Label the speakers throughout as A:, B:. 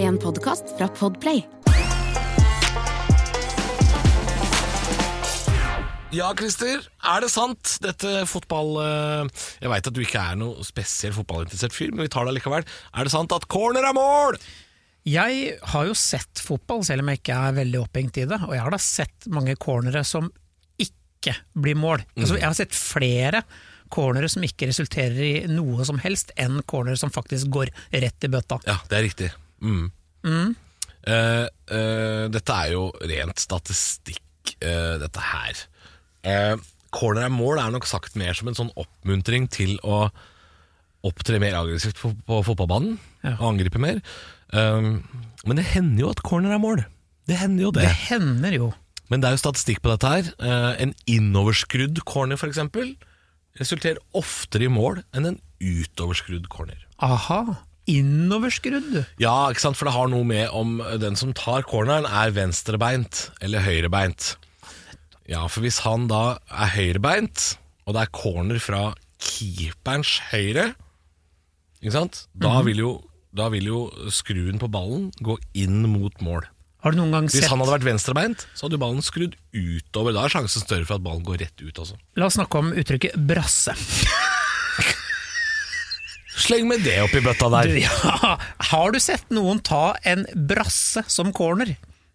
A: en podkast fra Podplay.
B: Ja, Christer, er det sant? Dette fotball... eh, Jeg veit at du ikke er noe spesiell fotballinteressert fyr, men vi tar det likevel. Er det sant at corner er mål?
C: Jeg har jo sett fotball, selv om jeg ikke er veldig opphengt i det. Og jeg har da sett mange cornere som ikke blir mål.
B: Mm.
C: Altså, jeg har sett flere cornere som ikke resulterer i noe som helst, enn cornere som faktisk går rett i bøtta.
B: Ja, det er riktig. Mm. Eh, eh, dette er jo rent statistikk, eh, dette her. Eh, corner er mål er nok sagt mer som en sånn oppmuntring til å opptre mer aggressivt på, på fotballbanen
C: Ja.
B: og angripe mer. Um, men det hender jo at corner er mål. Det hender jo det.
C: Det hender jo.
B: Men det er jo statistikk på dette her. Eh, en innoverskrudd corner, f.eks., resulterer oftere i mål enn en utoverskrudd corner.
C: Aha, innoverskrudd.
B: Ja, ikke sant? for det har noe med om den som tar corneren er venstrebeint eller høyrebeint. Ja, for hvis han da er høyrebeint, og det er corner fra keeperens høyre, ikke sant? Da, vil jo, da vil jo skruen på ballen gå inn mot mål.
C: Har du noen gang
B: Hvis
C: sett
B: han hadde vært venstrebeint, så hadde jo ballen skrudd utover. Da er sjansen større for at ballen går rett ut altså. også.
C: La oss snakke om uttrykket brasse.
B: Sleng med det oppi bøtta
C: Du,
B: der.
C: ja. Har du sett noen ta en brasse som corner?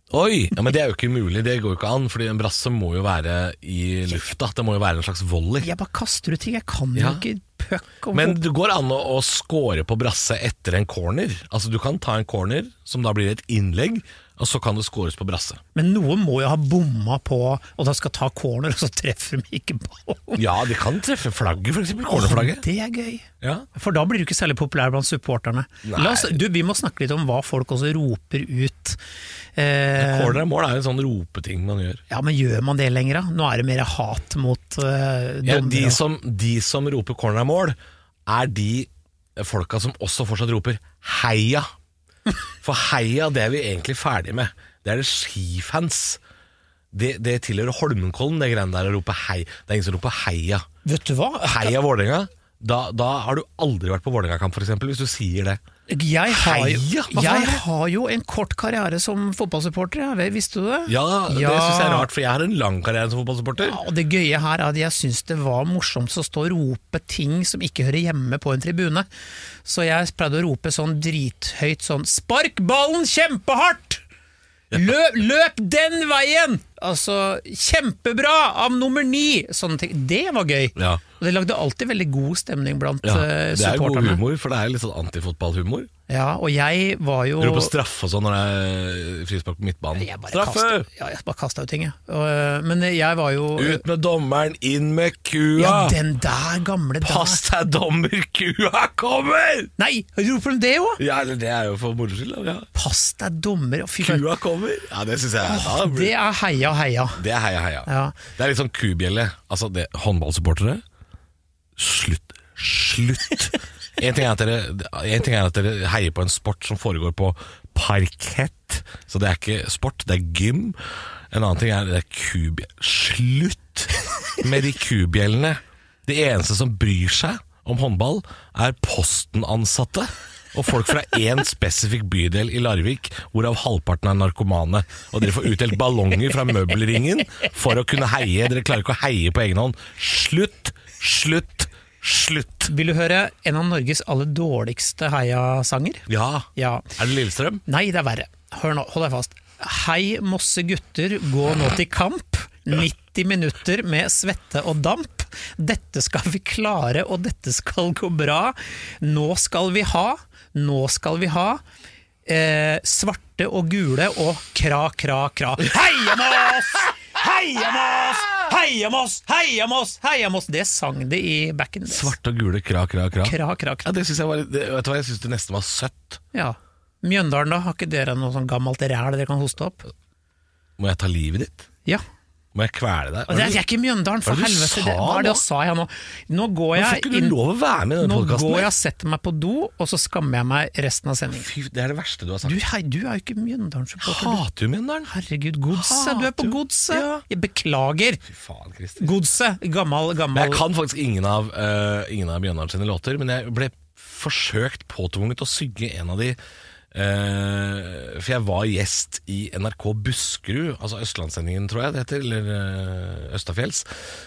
B: Oi! Ja, Men det er jo ikke mulig, det går jo ikke an. Fordi en brasse må jo være i lufta. Det må jo være en slags volley.
C: Jeg bare kaster ut ting, jeg kan jo
B: Ja.
C: ikke puck og
B: Men det går an å, å score på brasse etter en corner. Altså Du kan ta en corner, som da blir et innlegg, og så kan det scores på brasse.
C: Men noen må jo ha bomma på og da skal ta corner, og så treffer de ikke ballen.
B: Ja, de kan treffe flagget, f.eks. Cornerflagget.
C: Det er gøy.
B: Ja.
C: For da blir du ikke særlig populær blant supporterne.
B: Nei.
C: La oss, du, vi må snakke litt om hva folk også roper ut. Eh,
B: Corner og mål er jo en sånn ropeting man gjør.
C: ja, men gjør man det lenger, da? Nå er det mer hat mot eh,
B: Ja,
C: dommere.
B: de, som, de som roper corner er mål, er de folka som også fortsatt roper heia. For heia, det er vi egentlig ferdig med. Det er det skifans. Det, det tilhører Holmenkollen, det greiene der å rope hei. Det er ingen som roper heia.
C: Vet du hva?
B: Heia Vålerenga. Da, da har du aldri vært på Vålerenga-kamp, f.eks., hvis du sier det.
C: Jeg har,
B: Heia?
C: jo,
B: Hva faen er
C: jeg
B: det?
C: har jo en kort karriere som fotballsupporter, ja. Vel, visste du det?
B: Ja, det
C: Ja.
B: syns jeg er rart, for jeg har en lang karriere som fotballsupporter.
C: Ja, og Det gøye her er at jeg syns det var morsomt å stå og rope ting som ikke hører hjemme på en tribune. Så jeg pleide å rope sånn drithøyt sånn 'Spark ballen kjempehardt!' Løp, løp den veien! Altså, kjempebra av nummer ni! Sånne ting. Det var gøy.
B: Ja.
C: Og det lagde alltid veldig god stemning blant
B: Ja,
C: eh,
B: det er jo god
C: supporterne.
B: humor, for det er litt sånn antifotballhumor.
C: Ja, og jeg var jo
B: Du roper straffe og sånn når det er frispark på midtbanen.
C: jeg bare
B: Straffe!
C: kastet- Ja, jeg bare kasta ut ting, jeg. Og, eh, Men jeg var jo
B: Ut med dommeren, inn med kua!
C: Ja, den der gamle der.
B: Pass deg, dommer, kua kommer!
C: Nei, roper de det òg?
B: Ja, eller det er jo for moro skyld. da, Ja.
C: Pass deg dommer og fy faen.
B: Kua kommer! Ah, Ja, det syns jeg er da blir-
C: Det er heia, heia.
B: Det er heia, heia.
C: Ja.
B: Det er litt sånn kubjelle. Altså, det, håndballsupportere Slutt. Slutt! En ting, er at dere, en ting er at dere heier på en sport som foregår på parkett. Så det er ikke sport, det er gym. En annen ting er det er kub... Slutt med de kubjellene! Det eneste som bryr seg om håndball, er Posten-ansatte. Og folk fra én spesifikk bydel i Larvik, hvorav halvparten er narkomane. Og dere får utdelt ballonger fra møbelringen for å kunne heie. Dere klarer ikke å heie på egen hånd. Slutt! Slutt! Slutt!
C: Vil du høre en av Norges aller dårligste heiasanger?
B: Ja.
C: Ja.
B: Er det Lillestrøm?
C: Nei, det er verre. Hør nå, hold deg fast. Hei, Mosse gutter, gå nå til kamp. 90 minutter med svette og damp. Dette skal vi klare, og dette skal gå bra. Nå skal vi ha, nå skal vi ha. Eh, svarte og gule og kra, kra, kra. Heia Moss! Heia Moss! Heia Moss! Heia Moss! Heia Moss! Det sang de i back in the days.
B: Svarte og gule, kra, kra, kra.
C: Kra, kra, kra.
B: Ja, det synes jeg var, det, vet du hva, jeg syns det nesten var søtt.
C: Ja. Mjøndalen, da? Har ikke dere noe sånn gammelt ræl dere kan hoste opp?
B: Må jeg ta livet ditt?
C: Ja.
B: Må jeg kvele deg?
C: Og det er, det er ikke Mjøndalen, for
B: Hva er det du
C: helvete.
B: sa
C: Det, hva er
B: nå?
C: det jeg sa jeg nå? Nå går
B: Nå får
C: jeg
B: ikke du
C: inn
B: lov å være med i denne
C: Nå
B: podkasten.
C: går jeg og setter meg på do, og så skammer jeg meg resten av sendingen.
B: Fy, det er det verste du har sagt.
C: Du, hei, du er jo ikke Mjøndalen-supporter. du.
B: Hater du Mjøndalen?
C: Herregud, godset! Du er på
B: Hater-
C: godset!
B: Ja.
C: Jeg beklager!
B: Fy faen, Christer.
C: Godset! Gammal,
B: Men
C: gammal
B: jeg kan faktisk ingen av, eh, ingen av Mjøndalen sine låter, men jeg ble forsøkt påtvunget å synge en av de Eh, for jeg var gjest i NRK Buskerud, altså Østlandssendingen, tror jeg det heter, eller eh, Østafjells.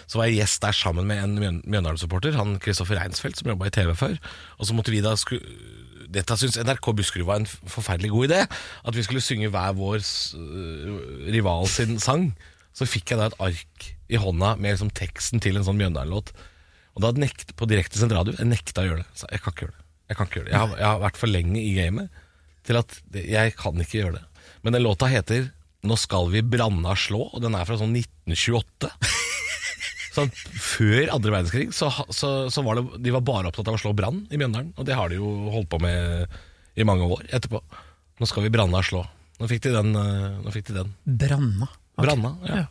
B: Så var jeg gjest der sammen med en Mjøn- Mjøndalen-supporter, han Kristoffer Reinsfeldt, som jobba i TV før. Og så måtte vi da sku dette syns NRK Buskerud var en f- forferdelig god idé. At vi skulle synge hver vår s- øh, rival sin sang. Så fikk jeg da et ark i hånda med liksom teksten til en sånn Mjøndalen-låt. Og da nekt, på direktesendt radio jeg nekta å gjøre det. Så jeg kan ikke gjøre det. Jeg kan ikke gjøre det. Jeg har, jeg har vært for lenge i gamet til at det- jeg kan ikke gjøre det. Men den låta heter 'Nå skal vi branna slå', og den er fra sånn 1928. Sånn, før andre verdenskrig så, ha- så, så var det, de var bare opptatt av å slå brann i Mjøndalen. Og det har de jo holdt på med i mange år etterpå. Nå skal vi branna slå. Nå fikk de den. eh, Nå fikk de den.
C: Branna. Ok.
B: Branna, ja.
C: Ja.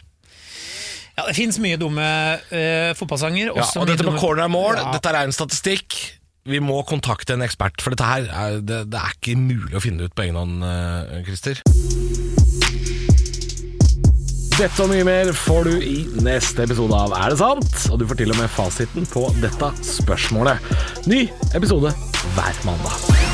C: Ja, det fins mye dumme eh, fotballsanger.
B: Ja,
C: også
B: og
C: mye
B: dette med
C: dumme-
B: corner er mål,
C: Ja.
B: dette er en statistikk. Vi må kontakte en ekspert, for dette her er, det, det er ikke mulig å finne ut på egen hånd, eh, Christer. Dette og mye mer får du i neste episode av Er det sant? Og du får til og med fasiten på dette spørsmålet. Ny episode hver mandag.